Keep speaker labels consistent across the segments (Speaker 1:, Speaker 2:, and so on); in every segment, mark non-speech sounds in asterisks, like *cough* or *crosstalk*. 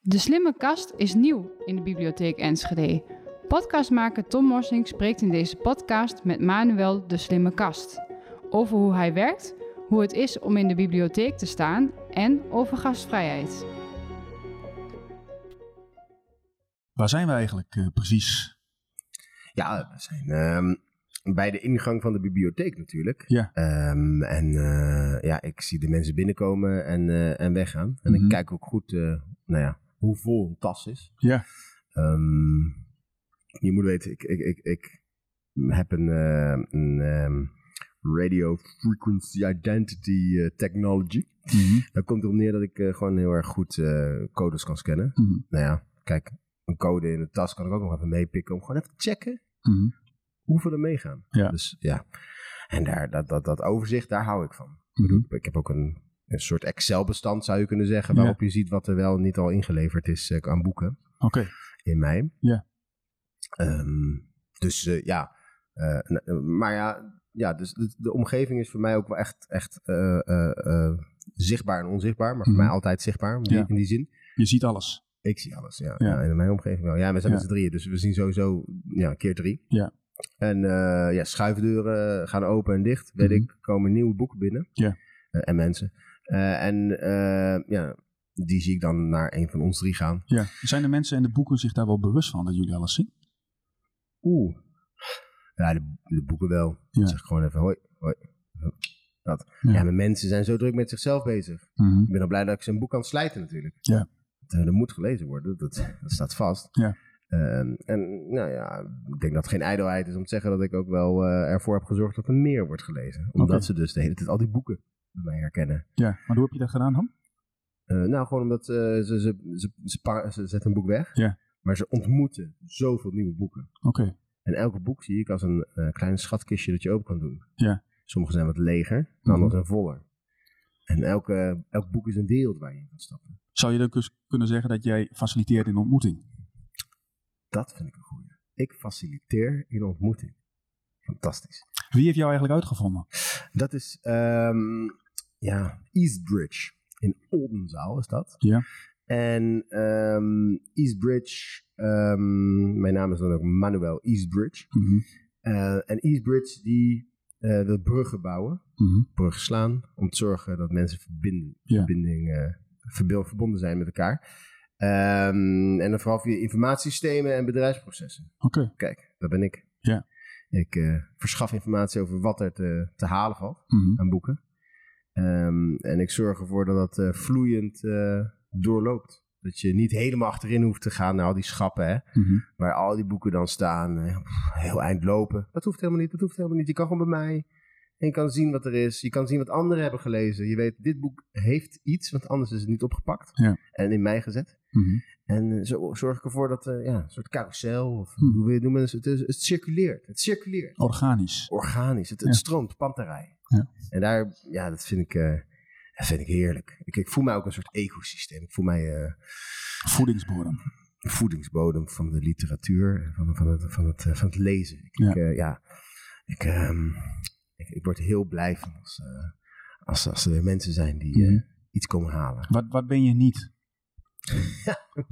Speaker 1: De Slimme Kast is nieuw in de Bibliotheek Enschede. Podcastmaker Tom Morsing spreekt in deze podcast met Manuel de Slimme Kast. Over hoe hij werkt, hoe het is om in de bibliotheek te staan en over gastvrijheid.
Speaker 2: Waar zijn we eigenlijk eh, precies?
Speaker 3: Ja, we zijn ehm, bij de ingang van de bibliotheek natuurlijk.
Speaker 2: Ja.
Speaker 3: Ehm, en eh, ja, ik zie de mensen binnenkomen en, eh, en weggaan. En
Speaker 2: Mhm.
Speaker 3: ik kijk ook goed eh, nou ja, hoe vol een tas is.
Speaker 2: Ja.
Speaker 3: Ehm, je moet weten, ik, ik, ik, ik heb een, eh, een ehm, radio frequency identity eh, technology.
Speaker 2: Mhm,
Speaker 3: Dat komt erop neer dat ik eh, gewoon heel erg goed eh, codes kan scannen.
Speaker 2: Mhm.
Speaker 3: Nou ja, kijk, een code in de tas kan ik ook nog even meepikken om gewoon even te checken
Speaker 2: Mhm.
Speaker 3: hoeveel er meegaan.
Speaker 2: Ja.
Speaker 3: Dus ja. En daar, dat, dat, dat overzicht, daar hou ik van.
Speaker 2: Mhm.
Speaker 3: Ik heb ook een, een soort Excel-bestand, zou je kunnen zeggen,
Speaker 2: Ja.
Speaker 3: waarop je ziet wat er wel en niet al ingeleverd is eh, aan boeken
Speaker 2: Oké.
Speaker 3: in mei.
Speaker 2: Ja.
Speaker 3: Ehm, dus eh, ja, eh, n- eh, maar ja, ja dus de, de omgeving is voor mij ook wel echt, echt eh, eh, eh, zichtbaar en onzichtbaar, maar voor
Speaker 2: Mhm.
Speaker 3: mij altijd zichtbaar in die-
Speaker 2: Ja.
Speaker 3: in die zin.
Speaker 2: Je ziet alles.
Speaker 3: Ik zie alles, ja.
Speaker 2: Ja.
Speaker 3: ja. in mijn omgeving wel. Ja, we zijn
Speaker 2: Ja.
Speaker 3: met z'n drieën, dus we zien sowieso ja, keer drie.
Speaker 2: Ja.
Speaker 3: En eh, ja, schuifdeuren gaan open en dicht. Weet
Speaker 2: Mhm.
Speaker 3: ik, komen nieuwe boeken binnen.
Speaker 2: Ja.
Speaker 3: Eh, en mensen. Eh, en eh, ja, die zie ik dan naar een van ons drie gaan.
Speaker 2: Ja. Zijn de mensen en de boeken zich daar wel bewust van dat jullie alles zien?
Speaker 3: Oeh. Ja, de, de boeken wel.
Speaker 2: Ja.
Speaker 3: Ik zeg gewoon even hoi, hoi. Dat.
Speaker 2: Ja.
Speaker 3: Ja. mijn mensen zijn zo druk met zichzelf bezig.
Speaker 2: Mhm.
Speaker 3: Ik ben al blij dat ik zijn boek kan slijten natuurlijk.
Speaker 2: Ja.
Speaker 3: Dat, dat moet gelezen worden, dat, dat staat vast.
Speaker 2: Ja.
Speaker 3: Ehm, en nou ja, ik denk dat het geen ijdelheid is om te zeggen dat ik ook wel eh, ervoor heb gezorgd dat er meer wordt gelezen. Omdat
Speaker 2: Oké.
Speaker 3: ze dus de hele tijd al die boeken bij mij herkennen.
Speaker 2: Ja. Maar hoe heb je dat gedaan, Han?
Speaker 3: Eh, nou, gewoon omdat eh, ze, ze, ze, ze, pa- ze zetten een boek weg,
Speaker 2: Ja.
Speaker 3: maar ze ontmoeten zoveel nieuwe boeken.
Speaker 2: Oké.
Speaker 3: En elke boek zie ik als een eh, klein schatkistje dat je open kan doen.
Speaker 2: Ja.
Speaker 3: Sommige zijn wat leger,
Speaker 2: Mhm.
Speaker 3: andere zijn voller. En elke, elk boek is een wereld waar je in kan stappen.
Speaker 2: Zou je dan dus kunnen zeggen dat jij faciliteert in ontmoeting?
Speaker 3: Dat vind ik een goeie. Ik faciliteer in ontmoeting. Fantastisch.
Speaker 2: Wie heeft jou eigenlijk uitgevonden?
Speaker 3: Dat is ehm, ja, Eastbridge. In Oldenzaal is dat.
Speaker 2: Ja.
Speaker 3: En ehm, Eastbridge, ehm, mijn naam is dan ook Manuel Eastbridge.
Speaker 2: Mhm,
Speaker 3: Eh, en Eastbridge die eh, wil bruggen bouwen,
Speaker 2: Mhm.
Speaker 3: bruggen slaan, om te zorgen dat mensen verbinden,
Speaker 2: Ja.
Speaker 3: verbinding, eh, verbil- verbonden zijn met elkaar. Ehm, en dan vooral via informatiesystemen en bedrijfsprocessen.
Speaker 2: Oké.
Speaker 3: Kijk, dat ben ik.
Speaker 2: Ja.
Speaker 3: Ik eh, verschaf informatie over wat er te, te halen valt
Speaker 2: Mhm.
Speaker 3: aan boeken. Ehm, en ik zorg ervoor dat dat eh, vloeiend eh, doorloopt. Dat je niet helemaal achterin hoeft te gaan naar al die schappen, hè,
Speaker 2: Mhm.
Speaker 3: waar al die boeken dan staan. eh, pff, heel eind lopen. Dat hoeft helemaal niet, dat hoeft helemaal niet. Je kan gewoon bij mij. En je kan zien wat er is. Je kan zien wat anderen hebben gelezen. Je weet, dit boek heeft iets, want anders is het niet opgepakt.
Speaker 2: Ja.
Speaker 3: En in mij gezet.
Speaker 2: Mhm.
Speaker 3: En eh, zo zorg ik ervoor dat, eh, ja, een soort carousel, of
Speaker 2: Hm.
Speaker 3: hoe wil je het noemen, Dus het, is- het circuleert. Het circuleert.
Speaker 2: Organisch.
Speaker 3: Organisch, het, het
Speaker 2: Ja.
Speaker 3: stroomt, panterij.
Speaker 2: Ja.
Speaker 3: En daar, ja, dat vind ik, eh, dat vind ik heerlijk. Ik, ik voel mij ook een soort ecosysteem. Ik voel mij eh,
Speaker 2: Voedingsbodem.
Speaker 3: een voedingsbodem van de literatuur, van, van, het, van, het, eh, van het lezen. Ik,
Speaker 2: Ja.
Speaker 3: ik, eh, ja, ik, ehm, ik, ik word heel blij van als, eh, als, als er weer mensen zijn die eh,
Speaker 2: Mhm.
Speaker 3: iets komen halen.
Speaker 2: Wat, wat ben je niet?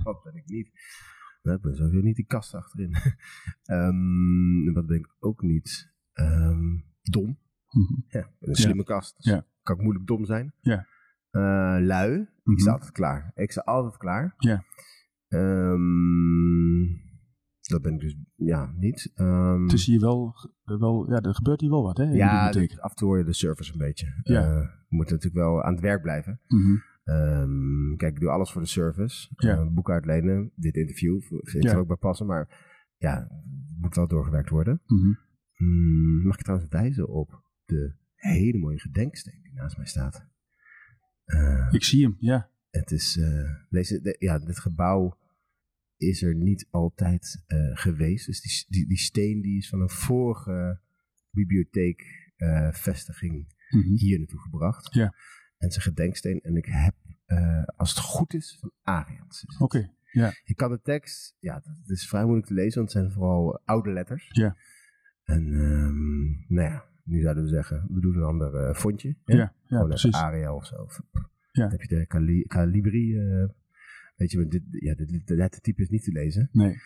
Speaker 3: Wat ben ik niet? Nou, ik ben sowieso niet die kast achterin. *laughs* Ehm, wat ben ik ook niet? Ehm, dom.
Speaker 2: Mhm.
Speaker 3: Ja, ik ben een slimme kast. Dus
Speaker 2: Ja.
Speaker 3: Kan ik moeilijk dom zijn.
Speaker 2: Ja.
Speaker 3: Eh, lui.
Speaker 2: Mhm.
Speaker 3: Ik sta altijd klaar. Ik sta altijd klaar.
Speaker 2: Ja.
Speaker 3: Ehm, dat ben ik dus ja, niet. Ehm,
Speaker 2: Het is hier wel, eh, wel ja, er gebeurt hier wel wat, hè? in de
Speaker 3: ja,
Speaker 2: bibliotheek.
Speaker 3: dit- af en toe hoor je de service een beetje.
Speaker 2: Ja.
Speaker 3: Eh, we moeten natuurlijk wel aan het werk blijven.
Speaker 2: Mhm.
Speaker 3: Ehm, kijk, ik doe alles voor de service.
Speaker 2: Ja.
Speaker 3: Eh, boek uitlenen, dit interview v- vind ik
Speaker 2: Ja.
Speaker 3: er ook bij passen. Maar ja, het moet wel doorgewerkt worden.
Speaker 2: Mhm.
Speaker 3: Mm, mag ik trouwens wijzen op de hele mooie gedenksteen die naast mij staat? Eh,
Speaker 2: Ik zie hem, ja.
Speaker 3: het is, eh, deze, de- ja, dit gebouw is er niet altijd eh, geweest. Dus die, s- die, die steen die is van een vorige eh, bibliotheekvestiging
Speaker 2: Mhm.
Speaker 3: hier naartoe gebracht.
Speaker 2: Ja.
Speaker 3: En zijn gedenksteen. En ik heb, eh, als het goed is, van Arians.
Speaker 2: Oké.
Speaker 3: Je kan de tekst, ja, het is vrij moeilijk te lezen, want het zijn vooral oude letters.
Speaker 2: Ja.
Speaker 3: En, ehm, nou ja, nu zouden we zeggen, we doen een ander eh, fontje. hè?
Speaker 2: Ja, Oh, ja,
Speaker 3: Gewoon even
Speaker 2: precies.
Speaker 3: Arial of zo. Of,
Speaker 2: Ja.
Speaker 3: Dan heb je de Cali Calibri eh, Weet je, dit, ja, dit, dit- de lettertype is niet te lezen.
Speaker 2: Nee.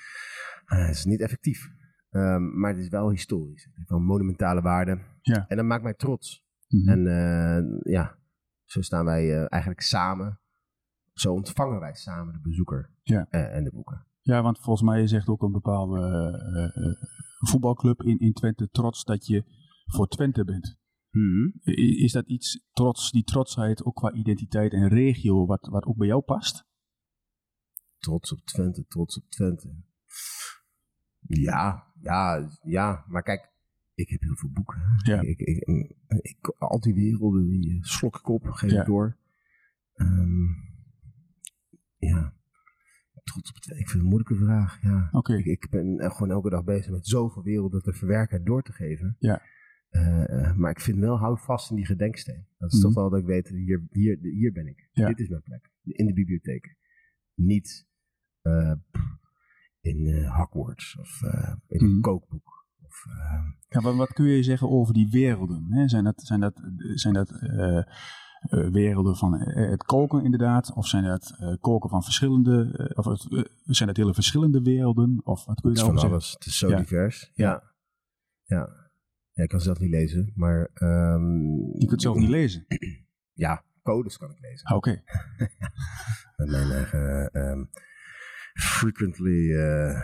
Speaker 3: Eh, het is niet effectief. Ehm, maar het is wel historisch. Het heeft wel monumentale waarde.
Speaker 2: Ja.
Speaker 3: En dat maakt mij trots.
Speaker 2: Mhm.
Speaker 3: En eh, ja, zo staan wij eh, eigenlijk samen. Zo ontvangen wij samen de bezoeker
Speaker 2: Ja.
Speaker 3: eh, en de boeken.
Speaker 2: Ja, want volgens mij is echt ook een bepaalde eh, eh, voetbalclub in, in Twente trots dat je voor Twente bent.
Speaker 3: Mhm.
Speaker 2: I- Is dat iets trots, die trotsheid ook qua identiteit en regio, wat, wat ook bij jou past?
Speaker 3: Trots op Twente, trots op Twente. Ja, ja, ja. Maar kijk, ik heb heel veel boeken.
Speaker 2: Ja.
Speaker 3: Ik, ik, ik, ik- al die werelden, die eh, slok ik op, geef
Speaker 2: Ja.
Speaker 3: ik door. Ehm, ja, trots op Twente. Ik vind het een moeilijke vraag, ja.
Speaker 2: Oké,
Speaker 3: Ik, ik ben eh, gewoon elke dag bezig met zoveel werelden te verwerken en door te geven.
Speaker 2: Ja.
Speaker 3: Eh, eh, maar ik vind wel, hou vast in die gedenksteen. Dat is
Speaker 2: Mhm.
Speaker 3: toch wel dat ik weet, hier, hier, hier ben ik.
Speaker 2: Ja.
Speaker 3: Dit is mijn plek. In de bibliotheek. Niet eh, in eh Hogwarts of eh, in
Speaker 2: Mhm. Nou,
Speaker 3: een kookboek. Of, eh,
Speaker 2: ja, wat, wat kun je zeggen over die werelden? Hè? Zijn dat, zijn dat, zijn dat eh, eh, werelden van eh, het koken inderdaad? Of zijn dat eh, koken van verschillende, eh, of het, eh, zijn dat hele verschillende werelden? Of wat kun je
Speaker 3: het is van
Speaker 2: daarover zeggen?
Speaker 3: alles. Het is zo
Speaker 2: Ja.
Speaker 3: divers.
Speaker 2: Ja.
Speaker 3: Ja. ja. Ja, ik kan zelf niet lezen, maar... ehm,
Speaker 2: Je kunt zelf niet lezen.
Speaker 3: Ja, codes kan ik lezen.
Speaker 2: Ah, Oké,
Speaker 3: Met mijn eigen ehm, frequently, eh,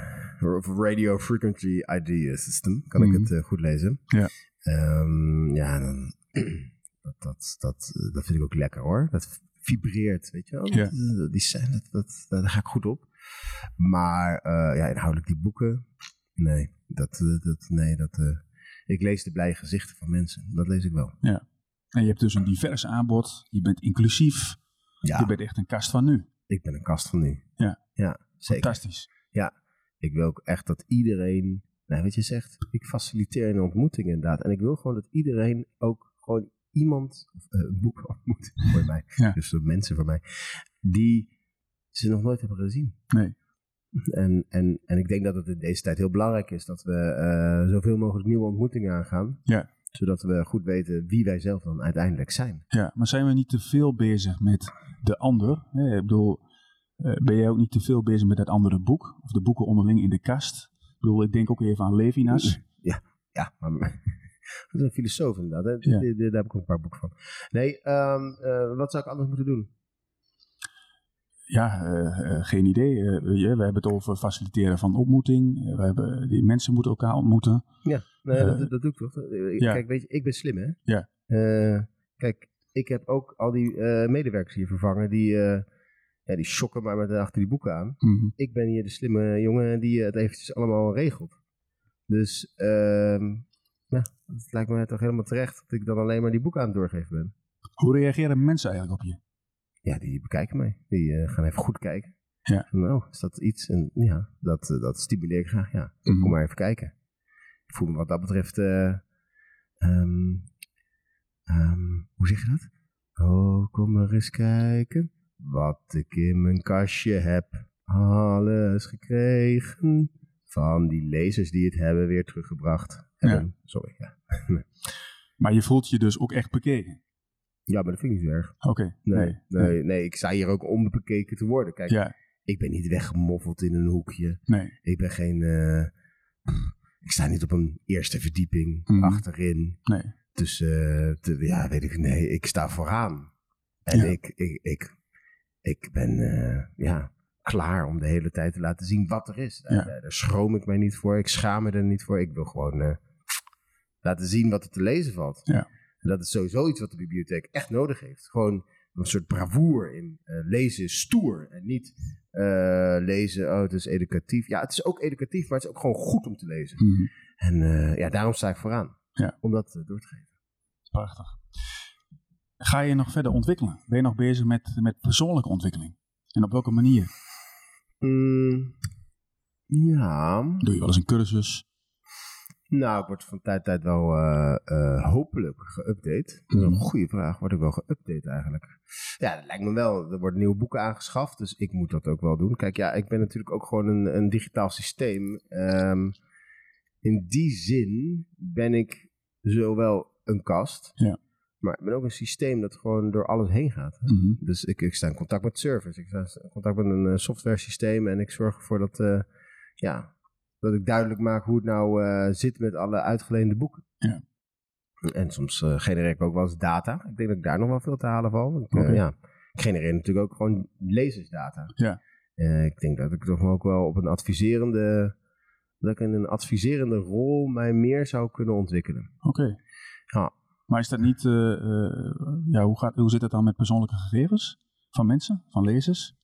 Speaker 3: of radio frequency ID system, kan
Speaker 2: Mhm.
Speaker 3: ik het eh, goed lezen.
Speaker 2: Ja.
Speaker 3: Ehm, ja, dan, *clears throat* dat, dat, dat, eh, dat vind ik ook lekker hoor. Dat vibreert, weet je wel.
Speaker 2: Ja.
Speaker 3: Eh, Die scène, dat, dat, daar ga ik goed op. Maar eh, ja, inhoudelijk die boeken, nee. Dat, eh, dat, nee dat, eh, ik lees de blije gezichten van mensen, dat lees ik wel.
Speaker 2: en je hebt dus een divers aanbod, je bent inclusief, je
Speaker 3: Ja,
Speaker 2: bent echt een kast van nu.
Speaker 3: ik ben een kast van nu.
Speaker 2: Ja.
Speaker 3: ja zeker.
Speaker 2: Fantastisch.
Speaker 3: Ik wil ook echt dat iedereen, nou weet je zegt, ik faciliteer een ontmoeting inderdaad. En ik wil gewoon dat iedereen ook gewoon iemand, of eh, een boek *laughs* ontmoet voor mij,
Speaker 2: Ja.
Speaker 3: dus door mensen voor mij, die ze nog nooit hebben gezien.
Speaker 2: Nee.
Speaker 3: En, en, en ik denk dat het in deze tijd heel belangrijk is dat we eh, zoveel mogelijk nieuwe ontmoetingen aangaan.
Speaker 2: Ja.
Speaker 3: Zodat we goed weten wie wij zelf dan uiteindelijk zijn.
Speaker 2: Ja, maar zijn we niet te veel bezig met de ander? Hè, ik bedoel, eh, ben jij ook niet te veel bezig met dat andere boek? Of de boeken onderling in de kast? Ik bedoel, ik denk ook even aan Levinas.
Speaker 3: Ja, maar *laughs* dat is een filosoof inderdaad. Hè?
Speaker 2: Ja.
Speaker 3: Daar, daar heb ik ook een paar boeken van. Nee, ehm, eh, wat zou ik anders moeten doen?
Speaker 2: Ja, eh, eh, geen idee. Eh, ja, we hebben het over faciliteren van ontmoeting. Eh, we hebben, die mensen moeten elkaar ontmoeten.
Speaker 3: Nee,
Speaker 2: Eh,
Speaker 3: dat, dat doe ik toch? Eh,
Speaker 2: ja.
Speaker 3: Kijk, weet je, ik ben slim, hè?
Speaker 2: Ja.
Speaker 3: Eh, kijk, ik heb ook al die eh, medewerkers hier vervangen die, eh, ja, die shocken maar met achter die boeken aan.
Speaker 2: Mhm.
Speaker 3: Ik ben hier de slimme jongen die eh, het eventjes allemaal regelt. Dus, ehm nou, het lijkt me toch helemaal terecht dat ik dan alleen maar die boeken aan het doorgeven ben.
Speaker 2: Hoe reageren mensen eigenlijk op je?
Speaker 3: Ja, die bekijken mij. Die eh, gaan even goed kijken.
Speaker 2: Ja.
Speaker 3: Van, oh, is dat iets? En ja, dat, eh, dat stimuleer ik graag, ja.
Speaker 2: Mhm.
Speaker 3: Kom maar even kijken. Ik voel me wat dat betreft. eh, ehm, ehm, hoe zeg je dat? Oh, kom maar eens kijken. Wat ik in mijn kastje heb. Alles gekregen. Van die lezers die het hebben weer teruggebracht. Hebben. Sorry. Ja.
Speaker 2: Maar je voelt je dus ook echt bekeken.
Speaker 3: ja, maar dat vind ik niet zo erg.
Speaker 2: Oké,
Speaker 3: Nee, nee, nee. ik sta hier ook om bekeken te worden. Kijk,
Speaker 2: Ja,
Speaker 3: ik ben niet weggemoffeld in een hoekje.
Speaker 2: nee.
Speaker 3: Ik ben geen. eh, ik sta niet op een eerste verdieping
Speaker 2: Mhm.
Speaker 3: achterin.
Speaker 2: Nee.
Speaker 3: Dus eh, te- ja, weet ik, nee, ik sta vooraan. En
Speaker 2: Ja.
Speaker 3: ik, ik, ik, ik ben eh, ja, klaar om de hele tijd te laten zien wat er is. Daar,
Speaker 2: Ja.
Speaker 3: daar- daar schroom ik mij niet voor, ik schaam me er niet voor. Ik wil gewoon eh, laten zien wat er te lezen valt.
Speaker 2: Ja.
Speaker 3: En dat is sowieso iets wat de bibliotheek echt nodig heeft. Gewoon een soort bravoer in eh, lezen is stoer en niet eh, lezen, oh het is educatief. Ja, het is ook educatief, maar het is ook gewoon goed om te lezen.
Speaker 2: Mhm.
Speaker 3: En eh, ja, daarom sta ik vooraan.
Speaker 2: Ja.
Speaker 3: Om dat eh, door te geven.
Speaker 2: Prachtig. Ga je nog verder ontwikkelen? Ben je nog bezig met, met persoonlijke ontwikkeling? En op welke manier?
Speaker 3: Mm, ja.
Speaker 2: Doe je wel eens een cursus?
Speaker 3: Nou, ik word van tijd tot tijd wel eh, eh, hopelijk geüpdate. Dat is een
Speaker 2: Mhm.
Speaker 3: goede vraag. Word ik wel geüpdate eigenlijk? Ja, dat lijkt me wel. Er worden nieuwe boeken aangeschaft, dus ik moet dat ook wel doen. Kijk, ja, ik ben natuurlijk ook gewoon een, een digitaal systeem. Ehm, in die zin ben ik zowel een kast,
Speaker 2: Ja.
Speaker 3: Maar ik ben ook een systeem dat gewoon door alles heen gaat.
Speaker 2: Mhm.
Speaker 3: Dus ik, ik sta in contact met servers, ik sta in contact met een eh, software systeem en ik zorg ervoor dat, eh, ja, dat ik duidelijk maak hoe het nou eh, zit met alle uitgeleende boeken.
Speaker 2: Ja.
Speaker 3: En soms eh, genereer ik ook wel eens data. Ik denk dat ik daar nog wel veel te halen val. Ik, eh,
Speaker 2: Oké.
Speaker 3: ja, ik genereer natuurlijk ook gewoon lezersdata.
Speaker 2: Ja.
Speaker 3: Eh, ik denk dat ik toch ook wel op een adviserende, dat ik in een adviserende rol mij meer zou kunnen ontwikkelen.
Speaker 2: Oké.
Speaker 3: Ja.
Speaker 2: Maar is dat niet, eh, eh, ja, hoe, gaat, hoe zit dat dan met persoonlijke gegevens van mensen, van lezers?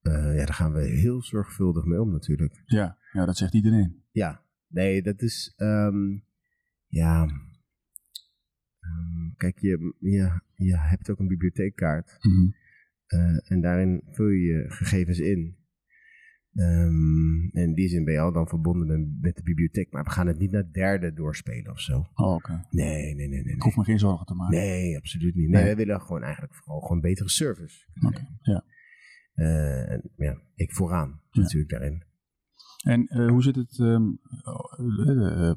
Speaker 3: Eh, ja, daar gaan we heel zorgvuldig mee om natuurlijk.
Speaker 2: Ja, ja dat zegt iedereen.
Speaker 3: Ja, nee, dat is. ehm, ja. Ehm, kijk, je, je, je hebt ook een bibliotheekkaart.
Speaker 2: Mhm.
Speaker 3: eh, en daarin vul je je gegevens in. Ehm, en in die zin ben je al dan verbonden met, met de bibliotheek. Maar we gaan het niet naar derden doorspelen of zo.
Speaker 2: Oh, oké.
Speaker 3: Nee, nee, nee, nee.
Speaker 2: Ik
Speaker 3: nee.
Speaker 2: hoef me geen zorgen te maken.
Speaker 3: Nee, absoluut niet. Nee,
Speaker 2: Nee.
Speaker 3: wij willen gewoon eigenlijk vooral gewoon betere service.
Speaker 2: Oké, ja.
Speaker 3: Eh, en ja, ik vooraan
Speaker 2: Ja.
Speaker 3: natuurlijk daarin.
Speaker 2: En eh, hoe zit het ehm, eh, eh,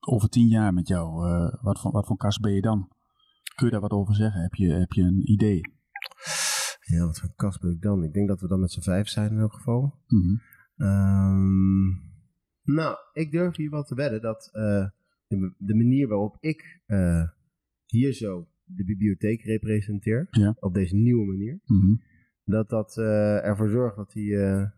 Speaker 2: over tien jaar met jou? Eh, wat, voor, wat voor kast ben je dan? Kun je daar wat over zeggen? Heb je, heb je een idee?
Speaker 3: Ja, wat voor kast ben ik dan? Ik denk dat we dan met z'n vijf zijn in elk geval.
Speaker 2: Mhm.
Speaker 3: Ehm, nou, ik durf hier wel te wedden dat eh, de, de manier waarop ik eh, hier zo de bibliotheek representeer,
Speaker 2: Ja.
Speaker 3: op deze nieuwe manier,
Speaker 2: Mhm.
Speaker 3: dat dat eh, ervoor zorgt dat die eh,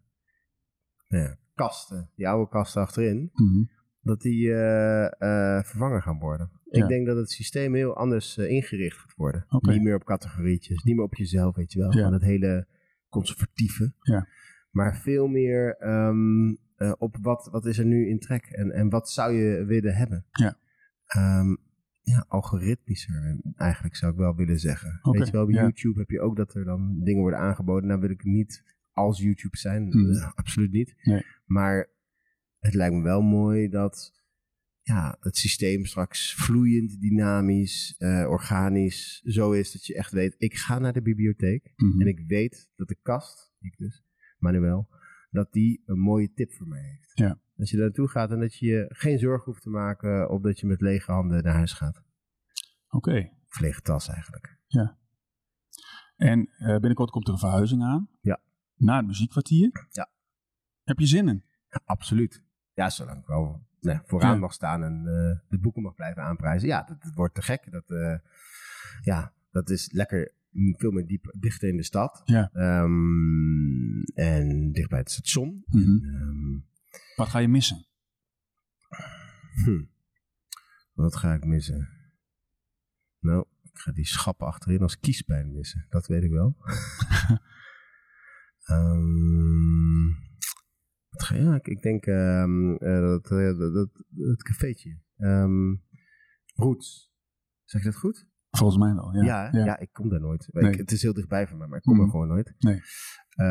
Speaker 3: nou ja, kasten, die oude kasten achterin,
Speaker 2: Mhm.
Speaker 3: dat die eh, eh, vervangen gaan worden.
Speaker 2: Ja.
Speaker 3: Ik denk dat het systeem heel anders eh, ingericht gaat worden.
Speaker 2: Oké.
Speaker 3: Niet meer op categorietjes, niet meer op jezelf, weet je wel.
Speaker 2: Ja.
Speaker 3: Van dat hele conservatieve.
Speaker 2: Ja.
Speaker 3: Maar veel meer ehm, eh, op wat, wat is er nu in trek en, en wat zou je willen hebben.
Speaker 2: Ja.
Speaker 3: Ehm, ja, algoritmischer eigenlijk zou ik wel willen zeggen.
Speaker 2: Oké,
Speaker 3: Weet je wel, bij
Speaker 2: ja.
Speaker 3: YouTube heb je ook dat er dan dingen worden aangeboden. Nou wil ik niet als YouTube zijn,
Speaker 2: Mhm.
Speaker 3: eh, absoluut niet.
Speaker 2: Nee.
Speaker 3: Maar het lijkt me wel mooi dat ja, het systeem straks vloeiend, dynamisch, eh, organisch zo is dat je echt weet, ik ga naar de bibliotheek
Speaker 2: Mhm.
Speaker 3: en ik weet dat de kast, ik dus, Manuel, dat die een mooie tip voor mij heeft.
Speaker 2: Ja.
Speaker 3: Dat je daar naartoe gaat en dat je je geen zorgen hoeft te maken op dat je met lege handen naar huis gaat.
Speaker 2: Oké.
Speaker 3: Of lege tas eigenlijk.
Speaker 2: En eh, binnenkort komt er een verhuizing aan.
Speaker 3: Ja.
Speaker 2: Naar het muziekkwartier.
Speaker 3: Ja.
Speaker 2: Heb je zin in?
Speaker 3: Ja, absoluut. Ja, zolang ik wel nou, vooraan
Speaker 2: Ja.
Speaker 3: mag staan en eh, de boeken mag blijven aanprijzen. Ja, dat, dat wordt te gek. Dat, eh, ja, dat is lekker mm, veel meer diep, dichter in de stad.
Speaker 2: Ja.
Speaker 3: Ehm, en dicht bij het station.
Speaker 2: Mhm.
Speaker 3: Ehm,
Speaker 2: Wat ga je missen?
Speaker 3: hm. Wat ga ik missen? Nou, ik ga die schappen achterin als kiespijn missen. Dat weet ik wel. Ehm, wat ga- ja, ik, ik denk ehm, eh, dat, eh, dat, dat, dat cafeetje. Ehm Roots. Zeg ik dat goed?
Speaker 2: Volgens mij wel, ja.
Speaker 3: Ja, hè? ja. ik kom daar nooit. Ik-
Speaker 2: Nee.
Speaker 3: het is heel dichtbij van mij, maar ik kom
Speaker 2: Mhm.
Speaker 3: er gewoon nooit.
Speaker 2: Nee.
Speaker 3: Eh,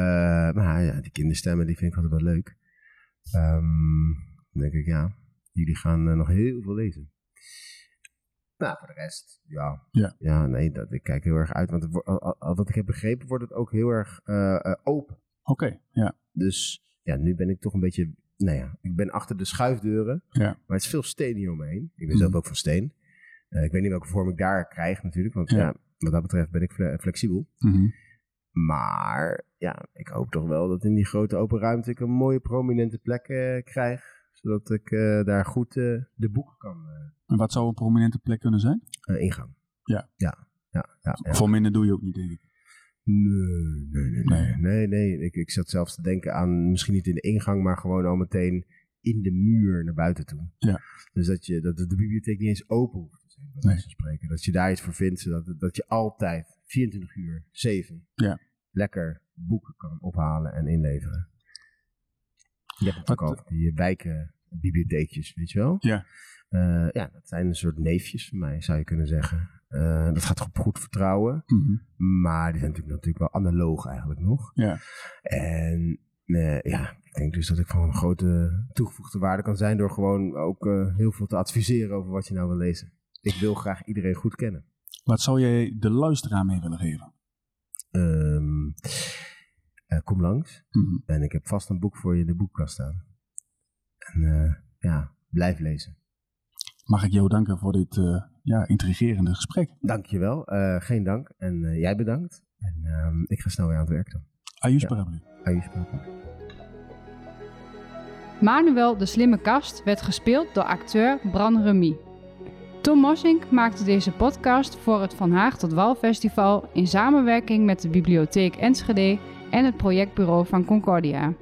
Speaker 3: maar ja, die kinderstemmen die vind ik altijd wel leuk. Ehm, dan denk ik, ja, jullie gaan eh, nog heel veel lezen. Nou, voor de rest, ja.
Speaker 2: Ja.
Speaker 3: nee, dat, ik kijk heel erg uit. Want het wo- al- al- al wat ik heb begrepen, wordt het ook heel erg eh, eh, open.
Speaker 2: Oké, ja.
Speaker 3: Dus ja, nu ben ik toch een beetje, nou ja, ik ben achter de schuifdeuren.
Speaker 2: Ja.
Speaker 3: Maar het is veel steen hier omheen. Ik ben
Speaker 2: Mhm.
Speaker 3: zelf ook van steen. Eh, ik weet niet welke vorm ik daar krijg natuurlijk. Want
Speaker 2: Ja.
Speaker 3: ja, wat dat betreft ben ik fle- flexibel.
Speaker 2: Mhm.
Speaker 3: Maar ja, ik hoop toch wel dat in die grote open ruimte ik een mooie prominente plek eh, krijg. Zodat ik eh, daar goed eh, de boeken kan
Speaker 2: En wat zou een prominente plek kunnen zijn?
Speaker 3: eh, eh, ingaan.
Speaker 2: Ja.
Speaker 3: Ja. Ja, ja, ja.
Speaker 2: Voor minder doe je ook niet, denk ik.
Speaker 3: Nee, nee, nee.
Speaker 2: Nee.
Speaker 3: Nee, nee. nee. Ik, ik zat zelfs te denken aan misschien niet in de ingang, maar gewoon al meteen in de muur naar buiten toe.
Speaker 2: Ja.
Speaker 3: Dus dat, je, dat de bibliotheek niet eens open hoeft te zijn, bij wijze van spreken. Dat je daar iets voor vindt, zodat dat je altijd 24 uur, 7,
Speaker 2: Ja.
Speaker 3: lekker boeken kan ophalen en inleveren. Je hebt het ook
Speaker 2: Wat-
Speaker 3: al, die wijken, bibliotheekjes, weet je wel?
Speaker 2: Ja.
Speaker 3: Eh, ja, dat zijn een soort neefjes van mij, zou je kunnen zeggen. Eh, dat gaat op goed vertrouwen.
Speaker 2: Mhm.
Speaker 3: Maar die zijn natuurlijk, natuurlijk wel analoog eigenlijk nog.
Speaker 2: Ja.
Speaker 3: En eh, ja, ik denk dus dat ik van een grote toegevoegde waarde kan zijn door gewoon ook eh, heel veel te adviseren over wat je nou wil lezen. Ik wil graag iedereen goed kennen.
Speaker 2: Wat zou jij de luisteraar mee willen geven?
Speaker 3: Ehm, eh, kom langs
Speaker 2: Mhm.
Speaker 3: en ik heb vast een boek voor je in de boekkast staan. En eh, ja, blijf lezen.
Speaker 2: mag ik jou danken voor dit eh, ja, intrigerende gesprek.
Speaker 3: Dankjewel. Eh geen dank. En eh, jij bedankt. En ehm, ik ga snel weer aan het werk dan.
Speaker 2: Ajus
Speaker 3: Ja.
Speaker 2: parablu.
Speaker 3: Adios, papa.
Speaker 1: Manuel de Slimme Kast werd gespeeld door acteur Bran Remy. Tom Mossink maakte deze podcast voor het Van Haag tot Wal Festival in samenwerking met de Bibliotheek Enschede en het projectbureau van Concordia.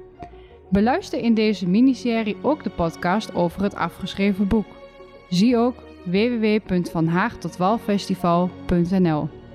Speaker 1: Beluister in deze miniserie ook de podcast over het afgeschreven boek. Zie ook www.vanhaagtotwalfestival.nl